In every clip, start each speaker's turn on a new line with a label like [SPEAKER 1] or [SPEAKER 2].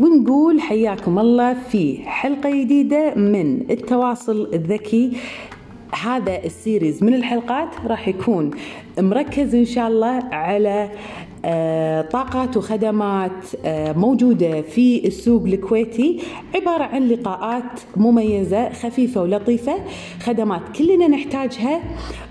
[SPEAKER 1] ونقول حياكم الله في حلقة جديدة من التواصل الذكي هذا السيريز من الحلقات راح يكون مركز ان شاء الله على آه، طاقات وخدمات آه، موجودة في السوق الكويتي عبارة عن لقاءات مميزة خفيفة ولطيفة خدمات كلنا نحتاجها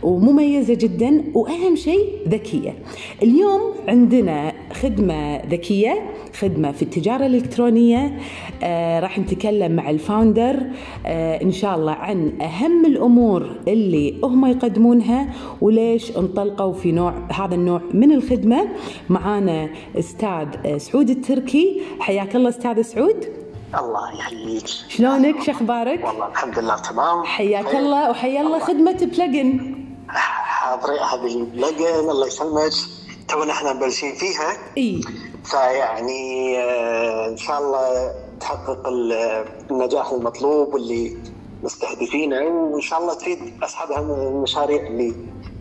[SPEAKER 1] ومميزة جدا وأهم شيء ذكية اليوم عندنا خدمة ذكية خدمة في التجارة الإلكترونية آه، راح نتكلم مع الفاوندر آه، إن شاء الله عن أهم الأمور اللي هم يقدمونها وليش انطلقوا في نوع هذا النوع من الخدمة معانا استاذ آه، سعود التركي حياك الله استاذ سعود
[SPEAKER 2] الله يحييك
[SPEAKER 1] شلونك شخبارك
[SPEAKER 2] والله الحمد لله تمام طيب.
[SPEAKER 1] حياك
[SPEAKER 2] خير.
[SPEAKER 1] الله وحيا الله خدمة بلجن
[SPEAKER 2] حاضرين هذه لقن الله يسلمك تونا احنا مبلشين فيها
[SPEAKER 1] اي
[SPEAKER 2] فيعني آه، ان شاء الله تحقق ال- النجاح المطلوب واللي مستهدفينه وان شاء الله تفيد اصحاب هم- المشاريع اللي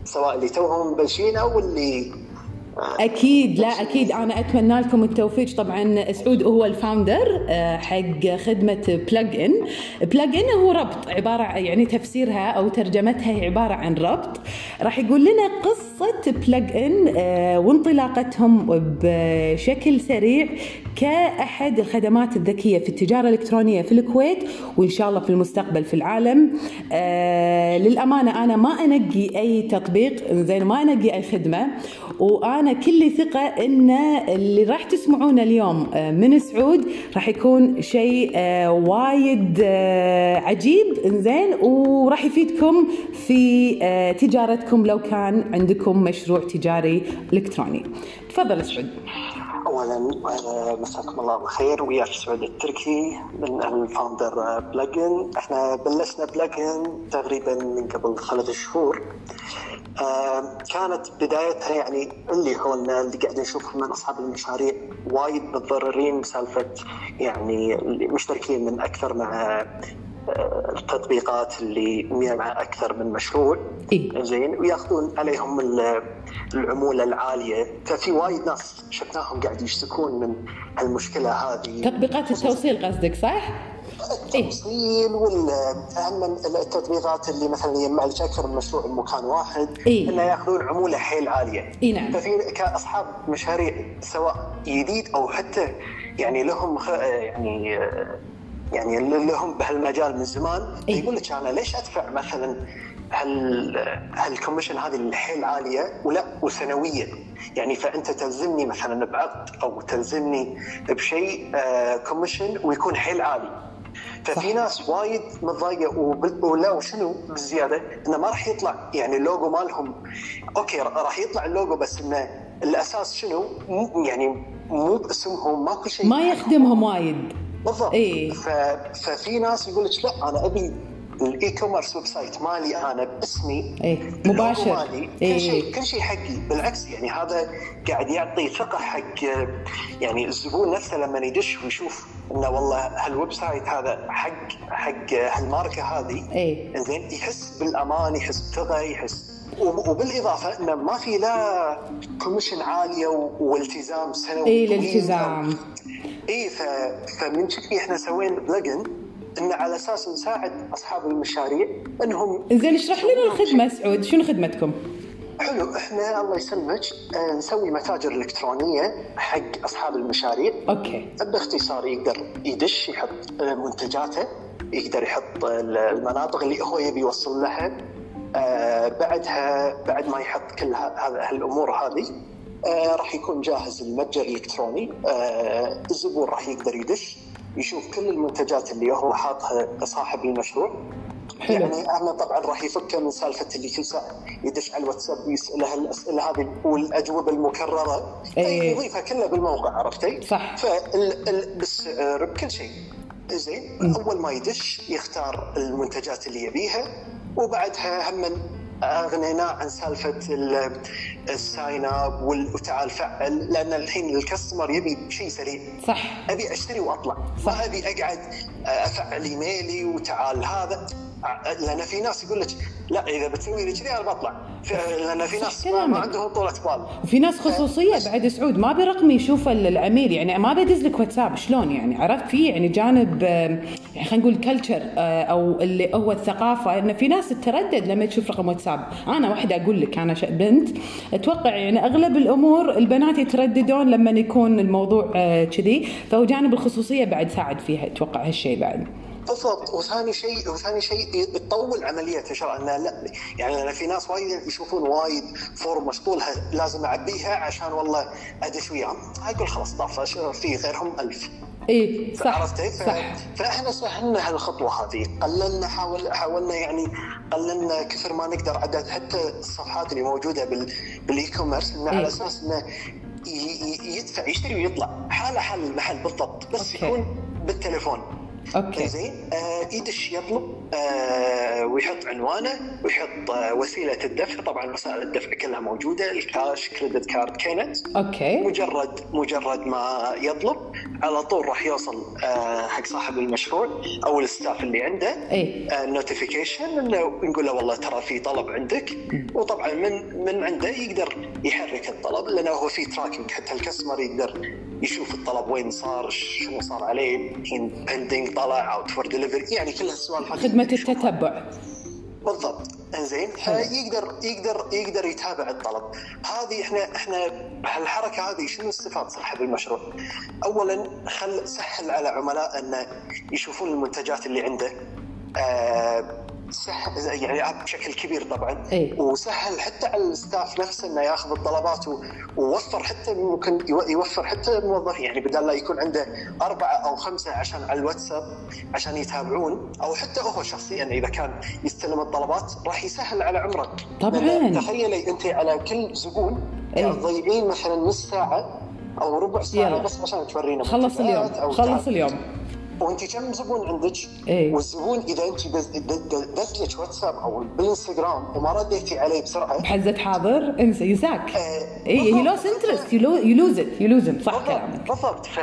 [SPEAKER 2] سواء اللي توهم مبلشين او اللي
[SPEAKER 1] اكيد لا اكيد انا اتمنى لكم التوفيق طبعا سعود هو الفاوندر آه، حق خدمه بلج ان بلج ان هو ربط عباره عن- يعني تفسيرها او ترجمتها هي عباره عن ربط راح يقول لنا قصه بلج ان آه، وانطلاقتهم بشكل سريع كاحد الخدمات الذكيه في التجاره الالكترونيه في الكويت وان شاء الله في المستقبل في العالم آه للامانه انا ما انقي اي تطبيق زين ما انقي اي خدمه وانا كل ثقه ان اللي راح تسمعونه اليوم آه، من سعود راح يكون شيء آه وايد آه عجيب زين وراح يفيدكم في آه تجارتكم لو كان عندكم مشروع تجاري الكتروني تفضل سعود
[SPEAKER 2] اولا آه، مساكم الله بالخير وياك سعود التركي من الفاوندر بلجن احنا بلشنا بلجن تقريبا من قبل خمس شهور آه، كانت بدايتها يعني اللي حولنا اللي قاعد نشوفهم من اصحاب المشاريع وايد متضررين بسالفه يعني اللي مشتركين من اكثر مع آه، التطبيقات اللي مع اكثر من مشروع
[SPEAKER 1] إيه؟
[SPEAKER 2] زين وياخذون عليهم ال- العموله العاليه ففي وايد ناس شفناهم قاعد يشتكون من المشكله هذه
[SPEAKER 1] تطبيقات التوصيل قصدك صح؟ إيه؟
[SPEAKER 2] التوصيل وال اهم التطبيقات اللي مثلا يجمع لك اكثر من مشروع بمكان واحد
[SPEAKER 1] إيه.
[SPEAKER 2] انه ياخذون عموله حيل عاليه
[SPEAKER 1] إيه نعم.
[SPEAKER 2] ففي كاصحاب مشاريع سواء جديد او حتى يعني لهم خ... يعني يعني اللي لهم بهالمجال من زمان
[SPEAKER 1] إيه.
[SPEAKER 2] يقول لك انا ليش ادفع مثلا هال هالكوميشن هذه اللي حيل عاليه ولا وسنويه يعني فانت تلزمني مثلا بعقد او تلزمني بشيء آه، كوميشن ويكون حيل عالي ففي ناس وايد متضايقه وب- ولا وشنو بالزياده انه ما راح يطلع يعني اللوجو مالهم اوكي ر- راح يطلع اللوجو بس انه الاساس شنو مو- يعني مو باسمهم ماكو شيء
[SPEAKER 1] ما يخدمهم وايد
[SPEAKER 2] بالضبط
[SPEAKER 1] إيه.
[SPEAKER 2] ف... ففي ناس يقول لك لا انا ابي الاي كوميرس ويب سايت مالي انا باسمي
[SPEAKER 1] إيه،
[SPEAKER 2] اللوجو
[SPEAKER 1] مباشر.
[SPEAKER 2] مالي
[SPEAKER 1] إيه.
[SPEAKER 2] كل شيء كل شيء حقي بالعكس يعني هذا قاعد يعطي ثقه حق يعني الزبون نفسه لما يدش ويشوف انه والله هالويب سايت هذا حق حق هالماركه هذه
[SPEAKER 1] ايه
[SPEAKER 2] زين يحس بالامان يحس بثقه يحس وب- وبالاضافه انه ما في لا كوميشن عاليه و- والتزام سنوي
[SPEAKER 1] ايه
[SPEAKER 2] طويل.
[SPEAKER 1] الالتزام
[SPEAKER 2] اي ف... فمن شكلي احنا سوينا بلجن انه على اساس نساعد اصحاب المشاريع انهم
[SPEAKER 1] زين اشرح لنا الخدمه سعود شنو خدمتكم؟
[SPEAKER 2] حلو احنا الله يسلمك آه، نسوي متاجر الكترونيه حق اصحاب المشاريع
[SPEAKER 1] اوكي
[SPEAKER 2] باختصار يقدر يدش يحط آه، منتجاته يقدر يحط آه، المناطق اللي هو يبي يوصل لها آه، بعدها بعد ما يحط كل ه- هذا- هالامور هذه آه، راح يكون جاهز المتجر الالكتروني آه، الزبون راح يقدر يدش يشوف كل المنتجات اللي هو حاطها صاحب المشروع
[SPEAKER 1] حلو.
[SPEAKER 2] يعني احنا طبعا راح يفكه من سالفه اللي كل ساعه يدش على الواتساب ويساله الاسئله هذه والاجوبه المكرره
[SPEAKER 1] إيه.
[SPEAKER 2] يضيفها كلها بالموقع عرفتي؟
[SPEAKER 1] صح.
[SPEAKER 2] فبالسعر بكل شيء زين اول ما يدش يختار المنتجات اللي يبيها وبعدها هم اغنيناه عن سالفه ال- الساين اب وال- وتعال فعل لان الحين الكاستمر يبي شيء سريع
[SPEAKER 1] صح
[SPEAKER 2] ابي اشتري واطلع
[SPEAKER 1] صح.
[SPEAKER 2] ما ابي اقعد افعل ايميلي وتعال هذا لان في ناس يقول لك لا اذا بتسوي لي كذي انا بطلع ف- لان في
[SPEAKER 1] صح
[SPEAKER 2] ناس ما- ما
[SPEAKER 1] كلامك.
[SPEAKER 2] عندهم طولة بال
[SPEAKER 1] وفي ناس خصوصيه بعد سعود ما برقمي يشوف ال- العميل يعني ما بدز لك واتساب شلون يعني عرفت في يعني جانب آه، يعني خلينا نقول كلتشر او اللي هو الثقافه انه في ناس تتردد لما تشوف رقم واتساب انا واحده اقول لك انا ش- بنت اتوقع يعني اغلب الامور البنات يترددون لما يكون الموضوع آه، كذي فهو جانب الخصوصيه بعد ساعد فيها اتوقع هالشيء بعد
[SPEAKER 2] بالضبط وثاني شيء وثاني شيء بتطول عمليه الشراء انها لا يعني لان في ناس وايد يشوفون وايد فورم مشطولها لازم اعبيها عشان والله ادش وياهم اقول خلاص طاف في غيرهم ألف
[SPEAKER 1] اي إيه، صح
[SPEAKER 2] عرفت كيف؟
[SPEAKER 1] صح
[SPEAKER 2] فاحنا سهلنا هالخطوه هذه، قللنا حاول حاولنا يعني قللنا كثر ما نقدر عدد حتى الصفحات اللي موجوده بال بالاي كوميرس انه
[SPEAKER 1] إيه.
[SPEAKER 2] على اساس انه ي- ي- يدفع يشتري ويطلع حاله حال المحل بالضبط بس
[SPEAKER 1] أوكي.
[SPEAKER 2] يكون بالتليفون
[SPEAKER 1] اوكي
[SPEAKER 2] زين آه يدش يطلب آه ويحط عنوانه ويحط آه وسيله الدفع طبعا وسائل الدفع كلها موجوده الكاش كريدت كارد كينت
[SPEAKER 1] اوكي
[SPEAKER 2] مجرد مجرد ما يطلب على طول راح يوصل آه، حق صاحب المشروع او الستاف اللي عنده
[SPEAKER 1] اي
[SPEAKER 2] آه، نوتيفيكيشن انه نقول له والله ترى في طلب عندك وطبعا من من عنده يقدر يحرك الطلب لانه هو في تراكنج حتى الكاستمر يقدر يشوف الطلب وين صار شنو صار عليه الحين بندنج طلع اوت فور ديليفري يعني كل هالسوالف هذه
[SPEAKER 1] خدمه التتبع
[SPEAKER 2] بالضبط انزين
[SPEAKER 1] حلو.
[SPEAKER 2] فيقدر يقدر يقدر يتابع الطلب هذه احنا احنا هالحركه هذه شنو صفات صاحب المشروع؟ اولا خل سهل على عملاء ان يشوفون المنتجات اللي عنده آه سهل يعني بشكل كبير طبعا
[SPEAKER 1] إي.
[SPEAKER 2] وسهل حتى على الستاف نفسه انه ياخذ الطلبات و- ووفر حتى ممكن يو- يوفر حتى الموظف يعني بدل لا يكون عنده اربعه او خمسه عشان على الواتساب عشان يتابعون او حتى هو شخصيا اذا كان يستلم الطلبات راح يسهل على عمرك
[SPEAKER 1] طبعاً.
[SPEAKER 2] لأن تخيلي انت على كل زبون
[SPEAKER 1] إي.
[SPEAKER 2] تضيعين مثلا نص ساعه او ربع ساعه
[SPEAKER 1] يلا.
[SPEAKER 2] بس عشان تورينا
[SPEAKER 1] خلص اليوم
[SPEAKER 2] منتجات أو
[SPEAKER 1] خلص اليوم
[SPEAKER 2] وانت كم زبون عندك
[SPEAKER 1] إيه.
[SPEAKER 2] والزبون اذا انت دز- دز- دز لك واتساب او بالانستغرام وما رديتي عليه بسرعه
[SPEAKER 1] بحزة حاضر انسى ينساك
[SPEAKER 2] آه،
[SPEAKER 1] اي إيه، هي لوس
[SPEAKER 2] بالضبط.
[SPEAKER 1] انترست يلوز ات يلوز صح
[SPEAKER 2] بالضبط
[SPEAKER 1] كلامك
[SPEAKER 2] بالضبط ف...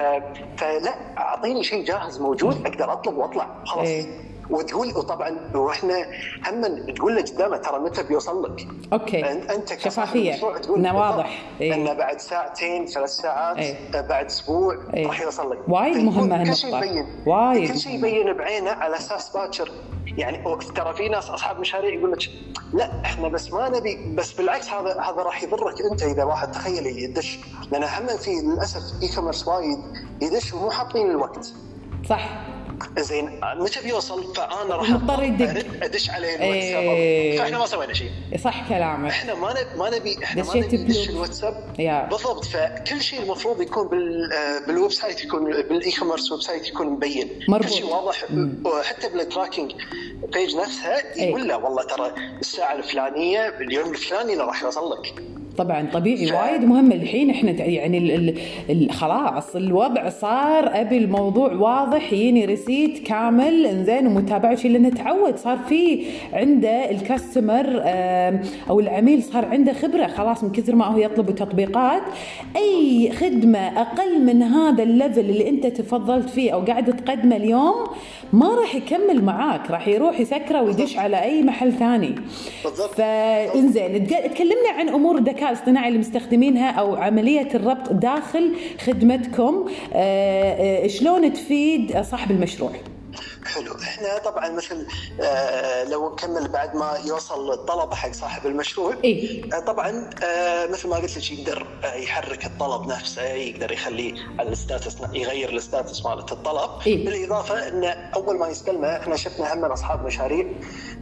[SPEAKER 2] فلا اعطيني شيء جاهز موجود اقدر اطلب واطلع خلاص
[SPEAKER 1] إيه.
[SPEAKER 2] وتقول وطبعا واحنا هم تقول له قدامه ترى متى بيوصل لك
[SPEAKER 1] اوكي
[SPEAKER 2] أن- انت كصاحب
[SPEAKER 1] شفافية
[SPEAKER 2] مشروع تقول
[SPEAKER 1] انه
[SPEAKER 2] بالضبط
[SPEAKER 1] واضح
[SPEAKER 2] انه
[SPEAKER 1] اي
[SPEAKER 2] بعد ساعتين ثلاث ساعات
[SPEAKER 1] إيه.
[SPEAKER 2] بعد اسبوع
[SPEAKER 1] إيه.
[SPEAKER 2] راح يوصل لك
[SPEAKER 1] وايد
[SPEAKER 2] فيكون
[SPEAKER 1] مهمة
[SPEAKER 2] كل شيء
[SPEAKER 1] هالنقطة.
[SPEAKER 2] يبين
[SPEAKER 1] وايد
[SPEAKER 2] كل شيء
[SPEAKER 1] مهمة.
[SPEAKER 2] يبين بعينه على اساس باكر يعني أو- ترى في ناس اصحاب مشاريع يقول لك لا احنا بس ما نبي بس بالعكس هذا هذا راح يضرك انت اذا واحد تخيل يدش لان هم في للاسف اي كوميرس وايد يدش ومو حاطين الوقت
[SPEAKER 1] صح
[SPEAKER 2] زين متى بيوصل فانا راح
[SPEAKER 1] مضطر يدق.
[SPEAKER 2] أرد- ادش عليه الواتساب
[SPEAKER 1] إيه.
[SPEAKER 2] فاحنا ما سوينا شيء
[SPEAKER 1] صح كلامك
[SPEAKER 2] احنا ما نبي ما نبي احنا ما
[SPEAKER 1] دشيت
[SPEAKER 2] نبي ندش
[SPEAKER 1] بلوب.
[SPEAKER 2] الواتساب
[SPEAKER 1] يا.
[SPEAKER 2] بالضبط فكل شيء المفروض يكون بال آه، بالويب سايت يكون بالاي كوميرس ويب سايت يكون مبين
[SPEAKER 1] مربوط.
[SPEAKER 2] كل شيء واضح وحتى بالتراكنج بيج نفسها
[SPEAKER 1] إيه.
[SPEAKER 2] يقول له والله ترى الساعه الفلانيه باليوم الفلاني اللي راح يوصل لك
[SPEAKER 1] طبعا طبيعي وايد مهم الحين احنا تع- يعني ال ال ال خلاص الوضع صار ابي الموضوع واضح يجيني ريسيت كامل انزين ومتابعه شيء لانه تعود صار في عنده الكاستمر آم، او العميل صار عنده خبره خلاص من كثر ما هو يطلب تطبيقات اي خدمه اقل من هذا الليفل اللي انت تفضلت فيه او قاعد تقدمه اليوم ما راح يكمل معاك راح يروح يسكره ويدش على اي محل ثاني
[SPEAKER 2] بالضبط.
[SPEAKER 1] فانزين تق- تكلمنا عن امور الذكاء الاصطناعي اللي مستخدمينها او عمليه الربط داخل خدمتكم آه، آه، شلون تفيد صاحب المشروع
[SPEAKER 2] حلو احنا طبعا مثل آه لو نكمل بعد ما يوصل الطلب حق صاحب المشروع
[SPEAKER 1] إيه.
[SPEAKER 2] آه طبعا آه مثل ما قلت لك يقدر آه يحرك الطلب نفسه يقدر يخليه على الستاتس يغير الستاتس مالت الطلب
[SPEAKER 1] إيه.
[SPEAKER 2] بالاضافه انه اول ما يستلمه احنا شفنا هم اصحاب مشاريع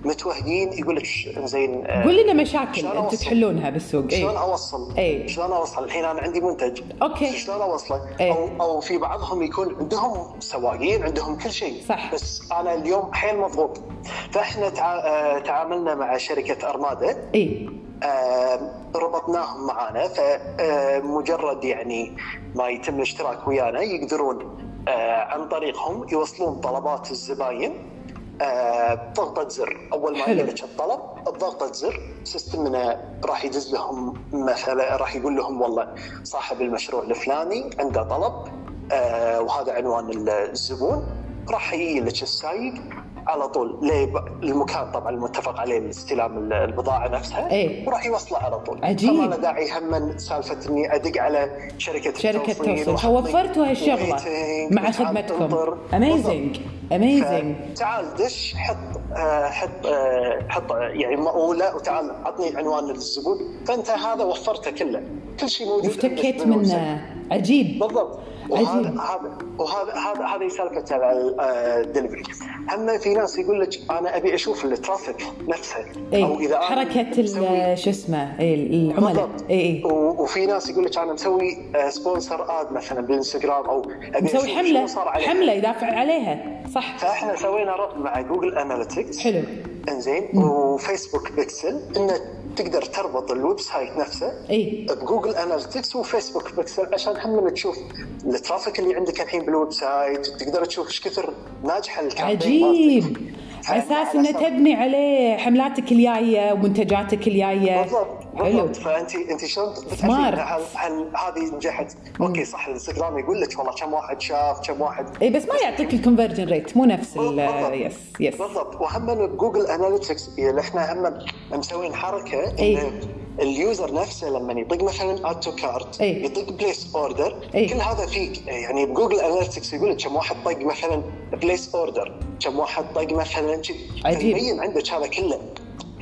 [SPEAKER 2] متوهقين يقول لك ش- زين آه
[SPEAKER 1] قول لنا مشاكل
[SPEAKER 2] شلون
[SPEAKER 1] انتم
[SPEAKER 2] أوصل؟
[SPEAKER 1] تحلونها بالسوق
[SPEAKER 2] شلون
[SPEAKER 1] اي
[SPEAKER 2] اوصل؟
[SPEAKER 1] إيه.
[SPEAKER 2] شلون اوصل؟ الحين انا عندي منتج
[SPEAKER 1] أوكي.
[SPEAKER 2] شلون اوصله؟
[SPEAKER 1] إيه.
[SPEAKER 2] او او في بعضهم يكون عندهم سواقين عندهم كل شيء
[SPEAKER 1] صح.
[SPEAKER 2] بس انا اليوم حيل مضغوط فاحنا تع... آه، تعاملنا مع شركه ارمادا
[SPEAKER 1] اي
[SPEAKER 2] آه، ربطناهم معانا فمجرد يعني ما يتم الاشتراك ويانا يقدرون آه، عن طريقهم يوصلون طلبات الزباين آه، بضغطة زر أول ما
[SPEAKER 1] حلو.
[SPEAKER 2] يجيك الطلب بضغطة زر سيستمنا راح يدز لهم مثلا راح يقول لهم والله صاحب المشروع الفلاني عنده طلب آه، وهذا عنوان الزبون راح يجي لك السايق على طول للمكان طبعا المتفق عليه لاستلام البضاعه نفسها
[SPEAKER 1] إيه.
[SPEAKER 2] وراح يوصله على طول
[SPEAKER 1] عجيب.
[SPEAKER 2] فما له داعي هم سالفه اني ادق على شركه
[SPEAKER 1] شركه توصل
[SPEAKER 2] وأحط
[SPEAKER 1] فوفرتوا هالشغله
[SPEAKER 2] ويتنج
[SPEAKER 1] مع
[SPEAKER 2] وتعال
[SPEAKER 1] خدمتكم
[SPEAKER 2] تنطر.
[SPEAKER 1] اميزنج اميزنج
[SPEAKER 2] تعال دش حط آه، حط آه، حط آه، يعني مقوله وتعال عطني عنوان الزبون فانت هذا وفرته كله كل شيء موجود
[SPEAKER 1] وافتكيت
[SPEAKER 2] عندك من الويب سايت.
[SPEAKER 1] منه عجيب
[SPEAKER 2] بالضبط
[SPEAKER 1] عجيب.
[SPEAKER 2] وهذا هذا وهذا هذا هذه سالفه الدليفري آه، هم في ناس يقول لك انا ابي اشوف الترافيك نفسه
[SPEAKER 1] اي
[SPEAKER 2] أنا
[SPEAKER 1] حركه
[SPEAKER 2] مسوي-
[SPEAKER 1] إيه. ال- شو اسمه إيه، العملاء إيه،
[SPEAKER 2] بالضبط.
[SPEAKER 1] اي اي
[SPEAKER 2] و- وفي ناس يقول لك انا مسوي آه، سبونسر اد مثلا بالانستغرام او أبي أشوف
[SPEAKER 1] مسوي
[SPEAKER 2] شو
[SPEAKER 1] حمله
[SPEAKER 2] صار عليه.
[SPEAKER 1] حمله يدافع عليها صح
[SPEAKER 2] فاحنا سوينا ربط مع جوجل اناليتكس
[SPEAKER 1] حلو
[SPEAKER 2] انزين وفيسبوك بيكسل انه تقدر تربط الويب سايت نفسه
[SPEAKER 1] اي
[SPEAKER 2] بجوجل اناليتكس وفيسبوك بيكسل عشان هم لما تشوف الترافيك اللي عندك الحين بالويب سايت تقدر تشوف ايش كثر ناجحه الكامبين
[SPEAKER 1] عجيب
[SPEAKER 2] مالتك.
[SPEAKER 1] على اساس انه تبني عليه حملاتك الجايه ومنتجاتك الجايه
[SPEAKER 2] بالضبط
[SPEAKER 1] حلو
[SPEAKER 2] بالضبط فانت انت شلون بتعرفين
[SPEAKER 1] Smart.
[SPEAKER 2] هل هل هذه نجحت؟ اوكي صح الانستغرام يقول لك والله كم واحد شاف كم واحد
[SPEAKER 1] اي إيه، بس ما يعطيك الكونفرجن ريت مو نفس ال
[SPEAKER 2] بالضبط.
[SPEAKER 1] يس يس
[SPEAKER 2] بالضبط وهم بجوجل اناليتكس احنا هم مسوين حركه ان
[SPEAKER 1] إيه.
[SPEAKER 2] اليوزر نفسه لما يطق مثلا اد تو كارت
[SPEAKER 1] إيه.
[SPEAKER 2] يطق بليس اوردر
[SPEAKER 1] إيه.
[SPEAKER 2] كل هذا فيك يعني بجوجل اناليتكس يقول لك كم واحد طق مثلا بليس اوردر كم واحد طق مثلا شي.
[SPEAKER 1] عجيب.
[SPEAKER 2] فيبين عندك هذا كله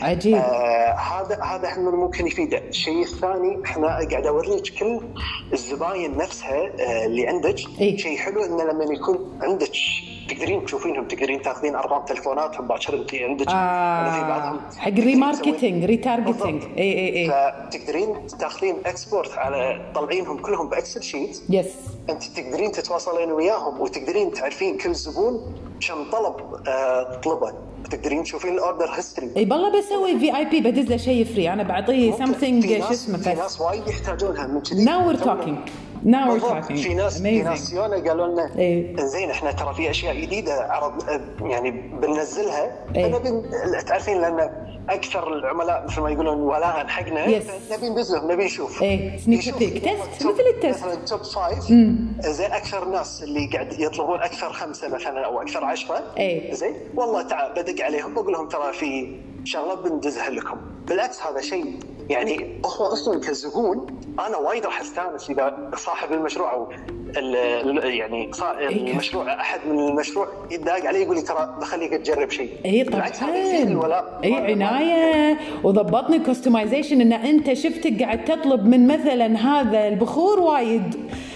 [SPEAKER 1] عجيب
[SPEAKER 2] آه، هذا هذا احنا ممكن يفيده، الشيء الثاني احنا قاعد اوريك كل الزباين نفسها آه، اللي عندك،
[SPEAKER 1] إيه.
[SPEAKER 2] شيء حلو انه لما يكون عندك تقدرين تشوفينهم تقدرين تاخذين ارقام تليفوناتهم باكر انت عندك أنا في
[SPEAKER 1] آه
[SPEAKER 2] بعضهم
[SPEAKER 1] حق إيه،
[SPEAKER 2] تقدرين
[SPEAKER 1] ريماركتنج ريتارجتنج
[SPEAKER 2] بالضبط.
[SPEAKER 1] اي اي اي
[SPEAKER 2] فتقدرين تاخذين اكسبورت على طلعينهم كلهم باكسل شيت
[SPEAKER 1] يس
[SPEAKER 2] انت تقدرين تتواصلين وياهم وتقدرين تعرفين كل زبون كم طلب آه، طلبه تقدرين تشوفين الاوردر هيستوري
[SPEAKER 1] اي إيه، بالله بسوي في اي بي بدز له شيء فري انا بعطيه
[SPEAKER 2] ممكن.
[SPEAKER 1] سمثينج
[SPEAKER 2] في
[SPEAKER 1] شو
[SPEAKER 2] ناس- في
[SPEAKER 1] اسمه بس
[SPEAKER 2] ناس وايد يحتاجونها من كذي
[SPEAKER 1] ناو وير توكينج ناو وير
[SPEAKER 2] بالضبط.
[SPEAKER 1] توكينج
[SPEAKER 2] في ناس في ناس يونا قالوا لنا
[SPEAKER 1] إيه.
[SPEAKER 2] زين احنا ترى في اشياء جديده عرض يعني بننزلها
[SPEAKER 1] إيه.
[SPEAKER 2] فنبي تعرفين لان اكثر العملاء مثل ما يقولون ولاء حقنا
[SPEAKER 1] Yes.
[SPEAKER 2] نبي ندزلهم نبي نشوف
[SPEAKER 1] إيه. Sneak
[SPEAKER 2] نشوف.
[SPEAKER 1] peek. Test.
[SPEAKER 2] Top-
[SPEAKER 1] مثل التست.
[SPEAKER 2] مثلا توب فايف زين اكثر ناس اللي قاعد يطلبون اكثر خمسه مثلا او اكثر عشره
[SPEAKER 1] إيه.
[SPEAKER 2] زين والله تعال بدق عليهم بقول لهم ترى في شغله بندزها لكم بالعكس هذا شيء يعني هو اصلا كزبون انا وايد راح استانس اذا صاحب المشروع او ال- ال- يعني صا-
[SPEAKER 1] إيه.
[SPEAKER 2] المشروع احد من المشروع يتضايق عليه يقول لي ترى بخليك تجرب شيء
[SPEAKER 1] اي
[SPEAKER 2] بالعكس هذا يزيد
[SPEAKER 1] طبعا
[SPEAKER 2] الولاء
[SPEAKER 1] اي عنايه وضبطنا الكستمايزيشن ان انت شفتك قاعد تطلب من مثلا هذا البخور وايد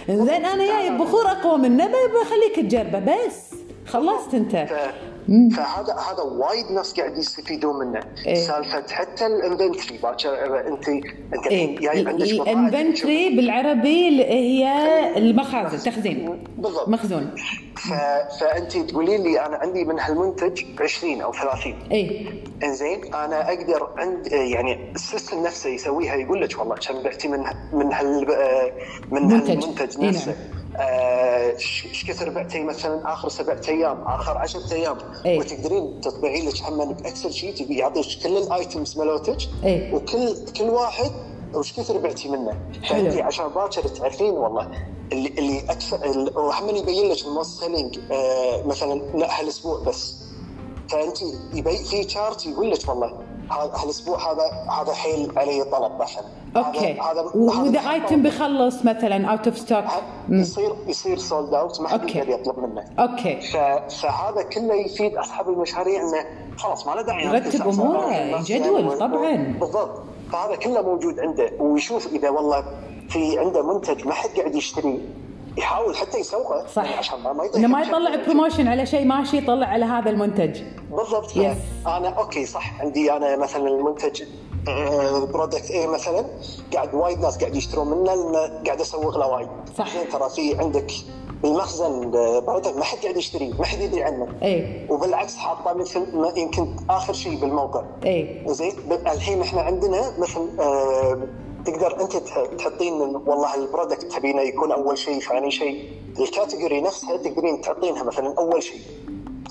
[SPEAKER 1] زين انا جايب بخور اقوى منه ب- بخليك تجربه بس خلصت انت
[SPEAKER 2] ف- فهذا هذا وايد ناس قاعد يستفيدون منه
[SPEAKER 1] إيه.
[SPEAKER 2] إيه؟ سالفه حتى الانفنتري باكر انت انت
[SPEAKER 1] إيه،
[SPEAKER 2] الحين جاي يعني عندك
[SPEAKER 1] ال-
[SPEAKER 2] بضاعة تشوف-
[SPEAKER 1] الانفنتري بالعربي ال- هي المخازن تخزين
[SPEAKER 2] بالضبط
[SPEAKER 1] مخزون
[SPEAKER 2] ف... فانت تقولين لي انا عندي من هالمنتج 20 او 30
[SPEAKER 1] اي
[SPEAKER 2] انزين انا اقدر عند يعني السيستم نفسه يسويها يقول لك والله كم بعتي من من هال من
[SPEAKER 1] منتج.
[SPEAKER 2] هالمنتج
[SPEAKER 1] إي
[SPEAKER 2] نفسه آه، ش- ايش كثر بعتي مثلا اخر سبعة ايام اخر 10 ايام
[SPEAKER 1] إي.
[SPEAKER 2] وتقدرين تطبعين لك هم باكسل شيت يعطيك كل الايتمز مالتك
[SPEAKER 1] إي.
[SPEAKER 2] وكل كل واحد وش كثر بعتي منه
[SPEAKER 1] حلو.
[SPEAKER 2] فانت عشان باكر تعرفين والله اللي اللي اكثر ال- وهم يبين لك الموست سيلينج مثلا لا هالاسبوع بس فانت يبي في شارت يقول لك والله ه- هالاسبوع هذا هذا حيل علي طلب مثلا
[SPEAKER 1] اوكي
[SPEAKER 2] هذا- هذا
[SPEAKER 1] واذا
[SPEAKER 2] هذا
[SPEAKER 1] ايتم بخلص مثلا اوت اوف ستوك
[SPEAKER 2] ه- يصير يصير سولد اوت ما حد
[SPEAKER 1] أوكي.
[SPEAKER 2] يقدر يطلب منه
[SPEAKER 1] اوكي
[SPEAKER 2] ف- فهذا كله يفيد اصحاب المشاريع انه خلاص ما له داعي يعني
[SPEAKER 1] يرتب
[SPEAKER 2] يركز على
[SPEAKER 1] أموره،
[SPEAKER 2] أسعار الناس
[SPEAKER 1] جدول
[SPEAKER 2] يعني و-
[SPEAKER 1] طبعاً.
[SPEAKER 2] بالضبط فهذا كله موجود عنده ويشوف اذا والله في عنده منتج ما حد قاعد يشتري يحاول حتى يسوقه
[SPEAKER 1] صح.
[SPEAKER 2] يعني عشان ما ما يضيع
[SPEAKER 1] انه ما
[SPEAKER 2] حد.
[SPEAKER 1] يطلع بروموشن على شيء ماشي يطلع على هذا المنتج
[SPEAKER 2] بالضبط ف-
[SPEAKER 1] Yes.
[SPEAKER 2] انا اوكي صح عندي انا مثلا المنتج آه، برودكت اي مثلا قاعد وايد ناس قاعد يشترون منه لان قاعد اسوق له وايد
[SPEAKER 1] صح.
[SPEAKER 2] زين ترى في عندك بالمخزن برودكت ما حد قاعد يشتريه ما حد يدري عنه
[SPEAKER 1] اي
[SPEAKER 2] وبالعكس حاطه مثل ما يمكن اخر شيء بالموقع
[SPEAKER 1] اي
[SPEAKER 2] زين ب- الحين احنا عندنا مثل آه، تقدر انت تح- تحطين إن والله البرودكت تبينه يكون اول شيء ثاني شيء الكاتيجوري نفسها تقدرين تعطينها مثلا اول شيء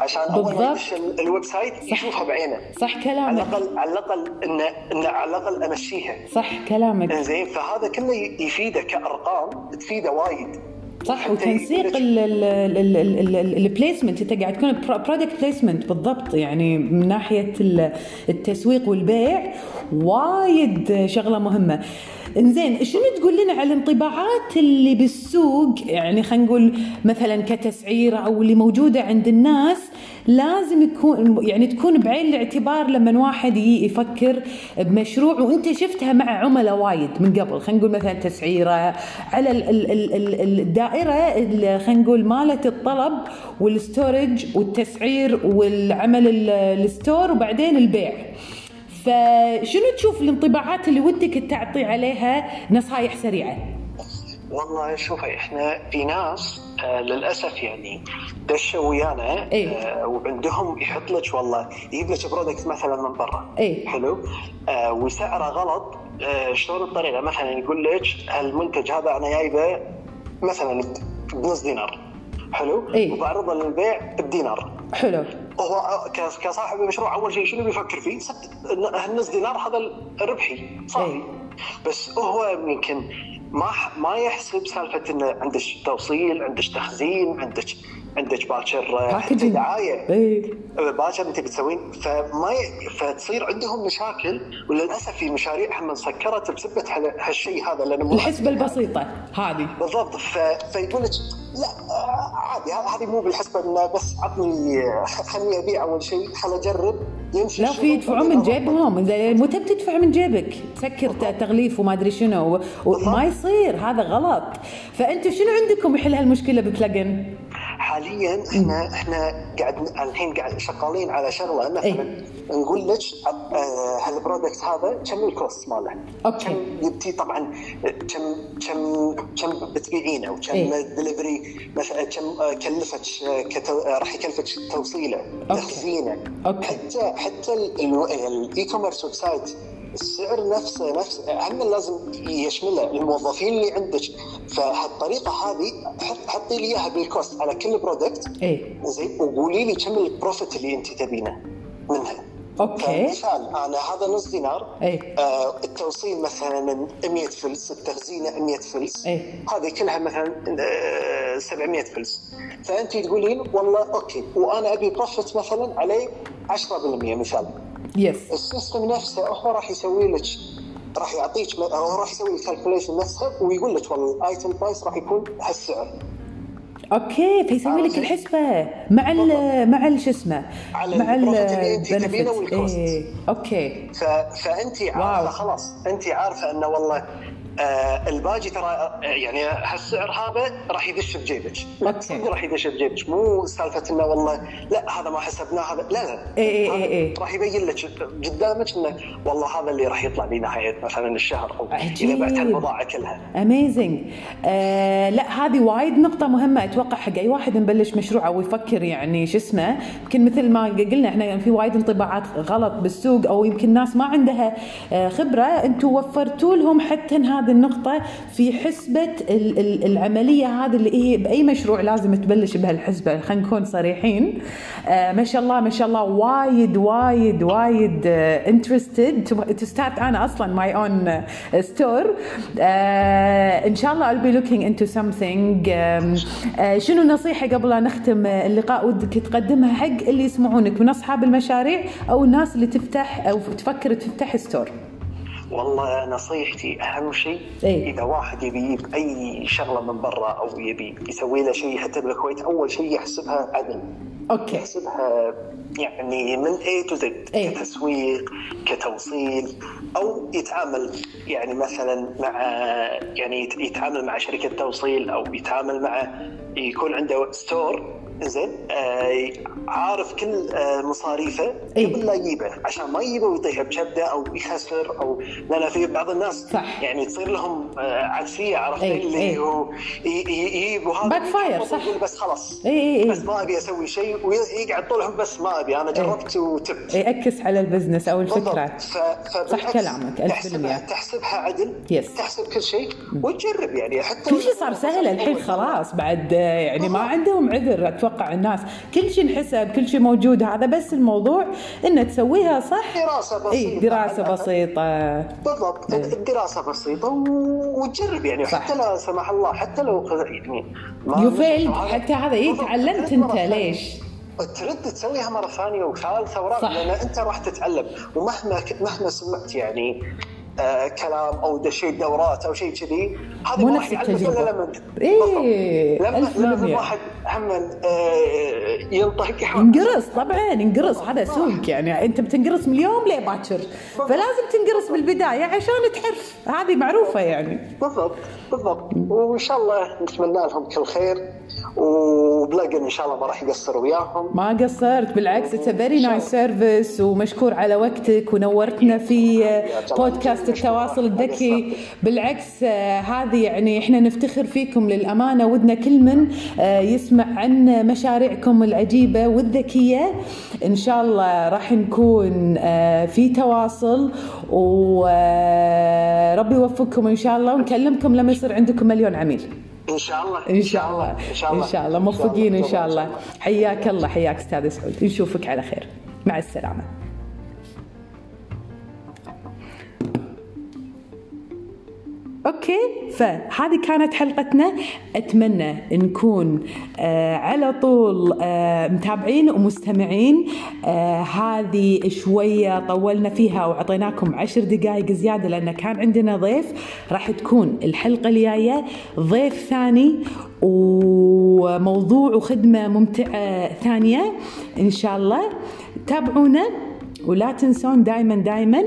[SPEAKER 2] عشان اول ما
[SPEAKER 1] بالضبط.
[SPEAKER 2] يدش ال- الويب سايت يشوفها بعينه
[SPEAKER 1] صح
[SPEAKER 2] على
[SPEAKER 1] كلامك
[SPEAKER 2] الاقل على الاقل انه انه على الاقل امشيها
[SPEAKER 1] صح كلامك
[SPEAKER 2] زين فهذا كله ي- يفيده كارقام تفيده وايد
[SPEAKER 1] صح وتنسيق البليسمنت انت قاعد تكون برودكت بليسمنت بالضبط يعني من ناحيه التسويق والبيع وايد شغله مهمه انزين شنو تقول لنا على الانطباعات اللي بالسوق يعني خلينا نقول مثلا كتسعيره او اللي موجوده عند الناس لازم يكون يعني تكون بعين الاعتبار لما واحد يفكر بمشروع وانت شفتها مع عملاء وايد من قبل خلينا نقول مثلا تسعيره على ال ال ال الدائره خلينا نقول مالت الطلب والستورج والتسعير والعمل الستور وبعدين البيع. فشنو تشوف الانطباعات اللي ودك تعطي عليها نصائح سريعه؟
[SPEAKER 2] والله شوفي احنا في ناس آه للاسف يعني دشوا ويانا
[SPEAKER 1] إيه.
[SPEAKER 2] آه وعندهم يحط لك والله يجيب لك برودكت مثلا من برا
[SPEAKER 1] إيه.
[SPEAKER 2] حلو آه وسعره غلط آه شلون الطريقه مثلا يقول لك المنتج هذا انا جايبه مثلا بنص دينار حلو
[SPEAKER 1] إيه.
[SPEAKER 2] وبعرضه للبيع بدينار
[SPEAKER 1] حلو
[SPEAKER 2] هو ك- كصاحب المشروع اول شيء شنو بيفكر فيه؟ صد هالنص دينار هذا الربحي صافي
[SPEAKER 1] إيه.
[SPEAKER 2] بس هو يمكن ما ح- ما يحسب سالفه انه عندك توصيل، عندك تخزين، عندك عندك باكر حتى
[SPEAKER 1] باكجينج
[SPEAKER 2] دعايه
[SPEAKER 1] اي
[SPEAKER 2] باكر انت بتسوين فما ي... فتصير عندهم مشاكل وللاسف في مشاريع هم انسكرت بسبه هال- هالشيء هذا لانه مو
[SPEAKER 1] الحسبه البسيطه هذه
[SPEAKER 2] بالضبط ف... فيقول لك لا آه، عادي هذا- هذه مو بالحسبه انه بس عطني آه، خليني ابيع اول شيء خل اجرب يمشي
[SPEAKER 1] لا في يدفعون من جيبهم زين، متى بتدفع من جيبك تسكر ت- تغليف وما ادري شنو و- وما يصير هذا غلط فانتم شنو عندكم يحل هالمشكله ببلجن
[SPEAKER 2] حاليا احنا احنا قاعد الحين قاعد شغالين على شغله مثلا
[SPEAKER 1] إيه.
[SPEAKER 2] نقول لك آه، هالبرودكت هذا كم الكوست ماله؟
[SPEAKER 1] أوكي.
[SPEAKER 2] كم يبتي طبعا آه، كم كم كم بتبيعينه وكم
[SPEAKER 1] إيه.
[SPEAKER 2] دليفري مثلا كم آه، كلفتك آه، كتو... آه، راح يكلفك توصيله
[SPEAKER 1] أوكي.
[SPEAKER 2] تخزينه
[SPEAKER 1] أوكي.
[SPEAKER 2] حتى حتى ال- ال- الاي كوميرس ويب سايت السعر نفسه نفس هم لازم يشمله الموظفين اللي عندك فهالطريقه هذه حط- حطي لي اياها بالكوست على كل برودكت
[SPEAKER 1] اي
[SPEAKER 2] زين وقولي لي كم البروفيت اللي انت تبينه منها
[SPEAKER 1] اوكي
[SPEAKER 2] فمثال انا هذا نص دينار
[SPEAKER 1] إيه.
[SPEAKER 2] آه التوصيل مثلا 100 فلس التخزينه 100 فلس
[SPEAKER 1] إيه.
[SPEAKER 2] هذه كلها مثلا آه 700 فلس فانت تقولين والله اوكي وانا ابي بروفيت مثلا عليه 10% مثال
[SPEAKER 1] يس
[SPEAKER 2] السيستم نفسه هو راح يسوي لك راح يعطيك هو راح يسوي الكالكوليشن نفسها ويقول لك والله الايتم برايس راح يكون هالسعر
[SPEAKER 1] اوكي فيسوي لك الحسبه مع ال مع ال- شو اسمه
[SPEAKER 2] على
[SPEAKER 1] مع ال
[SPEAKER 2] البروفيت اللي أنت تبينه
[SPEAKER 1] benefits.
[SPEAKER 2] والcost.
[SPEAKER 1] إيه. اوكي
[SPEAKER 2] ف... فانت عارفه
[SPEAKER 1] واو.
[SPEAKER 2] خلاص انت عارفه انه والله آه الباجي ترى آه، يعني هالسعر هذا راح يدش بجيبك
[SPEAKER 1] أوكي.
[SPEAKER 2] صدق راح يدش بجيبك مو سالفه انه والله لا هذا ما حسبناه هذا لا لا
[SPEAKER 1] إي إي
[SPEAKER 2] هذا
[SPEAKER 1] إي إي.
[SPEAKER 2] راح يبين لك قدامك انه والله هذا اللي راح يطلع لي نهايه مثلا الشهر او اذا
[SPEAKER 1] عجيب.
[SPEAKER 2] بعت البضاعه كلها
[SPEAKER 1] اميزنج آه لا هذه وايد نقطه مهمه اتوقع حق اي واحد مبلش مشروع او يفكر يعني شو اسمه يمكن مثل ما قلنا احنا في وايد انطباعات غلط بالسوق او يمكن ناس ما عندها آه خبره انتم وفرتوا لهم حتى هذه النقطه في حسبه ال- ال- العمليه هذه اللي هي باي مشروع لازم تبلش بهالحسبه خلينا نكون صريحين آه ما شاء الله ما شاء الله وايد وايد وايد آه، انترستد تو ستارت انا اصلا ماي اون ستور ان آه، شاء الله I'll be looking into something آم، آه، شنو نصيحه قبل لا نختم آه، اللقاء ودك تقدمها حق اللي يسمعونك من اصحاب المشاريع او الناس اللي تفتح او تفكر تفتح ستور
[SPEAKER 2] والله نصيحتي اهم شيء
[SPEAKER 1] إيه.
[SPEAKER 2] اذا واحد يبي يجيب اي شغله من برا او يبي يسوي له شيء حتى بالكويت اول شيء يحسبها عدل
[SPEAKER 1] اوكي
[SPEAKER 2] يحسبها يعني من A to Z
[SPEAKER 1] إيه.
[SPEAKER 2] كتسويق كتوصيل او يتعامل يعني مثلا مع يعني يت- يتعامل مع شركه توصيل او يتعامل مع يكون عنده ستور زين آه عارف كل آه مصاريفه
[SPEAKER 1] إيه.
[SPEAKER 2] قبل لا يجيبه عشان ما يجيبه ويطيح بشبده او يخسر او لا لا في بعض الناس
[SPEAKER 1] صح.
[SPEAKER 2] يعني تصير لهم آه عكسيه عرفت
[SPEAKER 1] إيه،
[SPEAKER 2] اللي
[SPEAKER 1] إيه.
[SPEAKER 2] هو ي- ي- يجيب وهذا
[SPEAKER 1] Backfire،
[SPEAKER 2] يحبط
[SPEAKER 1] صح.
[SPEAKER 2] يقول بس خلاص
[SPEAKER 1] إيه، إيه، إيه.
[SPEAKER 2] بس ما ابي اسوي شيء ويقعد طول عمره بس ما ابي انا جربت وتبت
[SPEAKER 1] يأكس إيه، على البزنس او الفكره
[SPEAKER 2] بالضبط. ف- فبالعكس
[SPEAKER 1] صح كلامك، ألف
[SPEAKER 2] تحسبها,
[SPEAKER 1] بالمية.
[SPEAKER 2] تحسبها عدل
[SPEAKER 1] Yes.
[SPEAKER 2] تحسب كل شيء وتجرب يعني حتى
[SPEAKER 1] كل شيء صار سهل الحين خلاص بعد آه، يعني ما عندهم عذر اتوقع الناس كل شيء انحسب كل شيء موجود هذا بس الموضوع ان تسويها صح
[SPEAKER 2] دراسة بسيطة.
[SPEAKER 1] اي دراسه
[SPEAKER 2] على الأقل.
[SPEAKER 1] بسيطه
[SPEAKER 2] بالضبط الدراسه بسيطه و- وتجرب يعني
[SPEAKER 1] إيه. صح.
[SPEAKER 2] حتى لا سمح الله حتى لو خذ- يعني ما-
[SPEAKER 1] يو فيلد
[SPEAKER 2] هذا-
[SPEAKER 1] حتى هذا اي
[SPEAKER 2] بالضبط.
[SPEAKER 1] تعلمت
[SPEAKER 2] مرة
[SPEAKER 1] انت
[SPEAKER 2] ثانية.
[SPEAKER 1] ليش
[SPEAKER 2] ترد تسويها مره ثانيه وثالثه ورابعه
[SPEAKER 1] صح.
[SPEAKER 2] لان انت راح تتعلم ومهما ك- مهما سمعت يعني آه كلام او دشيت دورات او شيء كذي هذا
[SPEAKER 1] مو
[SPEAKER 2] ما
[SPEAKER 1] نفس
[SPEAKER 2] راح يعلمك
[SPEAKER 1] التجربة.
[SPEAKER 2] الا لما انت
[SPEAKER 1] إيه،
[SPEAKER 2] بالضبط.
[SPEAKER 1] ألف
[SPEAKER 2] لما لما
[SPEAKER 1] بالمية.
[SPEAKER 2] الواحد هم آه ينطق يحاول.
[SPEAKER 1] انقرص طبعا انقرص هذا سوق يعني انت بتنقرص من اليوم ليه باكر فلازم تنقرص بالبدايه عشان تحرف هذه معروفه يعني
[SPEAKER 2] بالضبط بالضبط وان شاء الله نتمنى لهم كل خير وبلاقن ان شاء الله ما راح يقصر وياهم
[SPEAKER 1] ما قصرت بالعكس اتس فيري نايس سيرفيس ومشكور على وقتك ونورتنا في بودكاست التواصل الذكي بالعكس آه، هذه يعني احنا نفتخر فيكم للامانه ودنا كل من آه، يسمع عن مشاريعكم العجيبه والذكيه ان شاء الله راح نكون آه، في تواصل وربي يوفقكم ان شاء الله ونكلمكم لما يصير عندكم مليون عميل
[SPEAKER 2] ان شاء الله
[SPEAKER 1] ان شاء الله
[SPEAKER 2] ان شاء الله
[SPEAKER 1] ان شاء الله موفقين ان شاء الله حياك الله حياك استاذ سعود نشوفك على خير مع السلامه اوكي فهذه كانت حلقتنا اتمنى نكون آه على طول آه متابعين ومستمعين آه هذه شويه طولنا فيها وعطيناكم عشر دقائق زياده لان كان عندنا ضيف راح تكون الحلقه الجايه ضيف ثاني وموضوع وخدمه ممتعه ثانيه ان شاء الله تابعونا ولا تنسون دائما دائما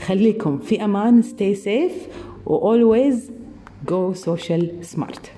[SPEAKER 1] خليكم في امان stay safe و always go social smart